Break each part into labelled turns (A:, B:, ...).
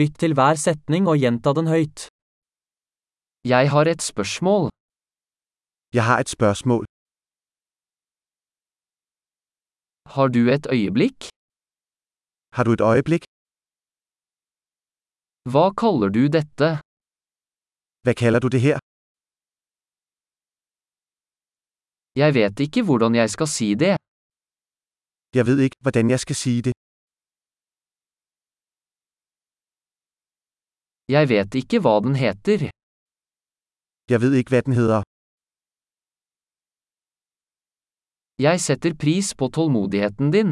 A: Lytt til hver setning og gjenta den høyt. Jeg har et spørsmål.
B: Jeg har et spørgsmål.
A: Har du et øyeblikk?
B: Har du et øjeblik?
A: Hva kaller du dette?
B: Hvad kalder du det her?
A: Jeg vet ikke hvordan jeg skal si det.
B: Jeg ved ikke, hvordan jeg skal sige det.
A: Jeg vet ikke hva den heter.
B: Jeg ved ikke, hvad den hedder.
A: Jeg setter pris på tålmodigheten din.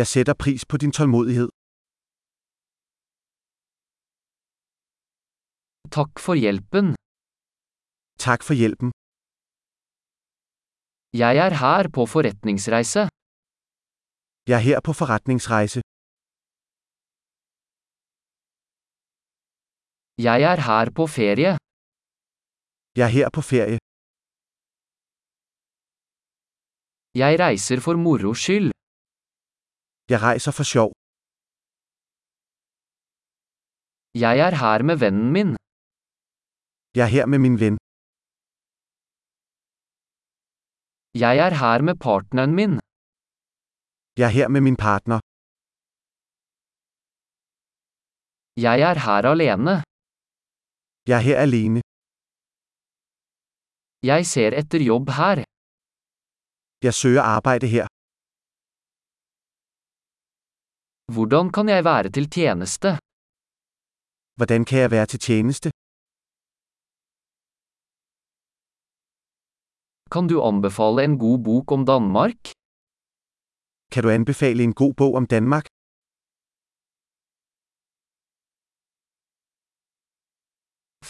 B: Jeg sætter pris på din tålmodighed.
A: Takk for hjelpen.
B: Tak for hjælpen.
A: Jeg er her på forretningsreise.
B: Jeg er her på forretningsrejse.
A: Jeg er her på ferie.
B: Jeg er her på ferie.
A: Jeg reiser for moro skyld.
B: Jeg rejser for sjov.
A: Jeg er her med vennen min.
B: Jeg er her med min ven.
A: Jeg er her med partneren min.
B: Jeg er her med min partner.
A: Jeg er her alene.
B: Jeg er her alene.
A: Jeg ser etter jobb her.
B: Jeg søger arbejde her.
A: Hvordan kan jeg være til tjeneste?
B: Hvordan kan jeg være til tjeneste?
A: Kan du anbefale en god bok om Danmark?
B: Kan du anbefale en god bog om Danmark?